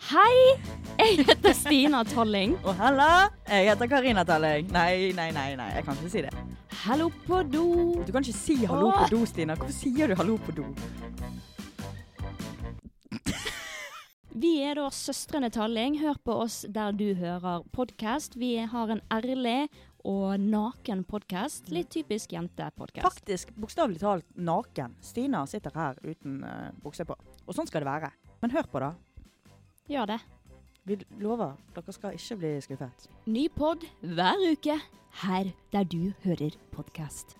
Hei, jeg heter Stina Tolling. Og halla, jeg heter Karina Talling. Nei, nei, nei, nei, jeg kan ikke si det. Hallo på do. Du kan ikke si hallo Åh. på do, Stina. Hvorfor sier du hallo på do? Vi er da Søstrene Talling. Hør på oss der du hører podkast. Vi har en ærlig og naken podkast. Litt typisk jentepodkast. Faktisk, bokstavelig talt naken. Stina sitter her uten eh, bukse på. Og sånn skal det være. Men hør på, da. Gjør det. Vi lover, dere skal ikke bli skuffet. Ny pod hver uke her der du hører podkast.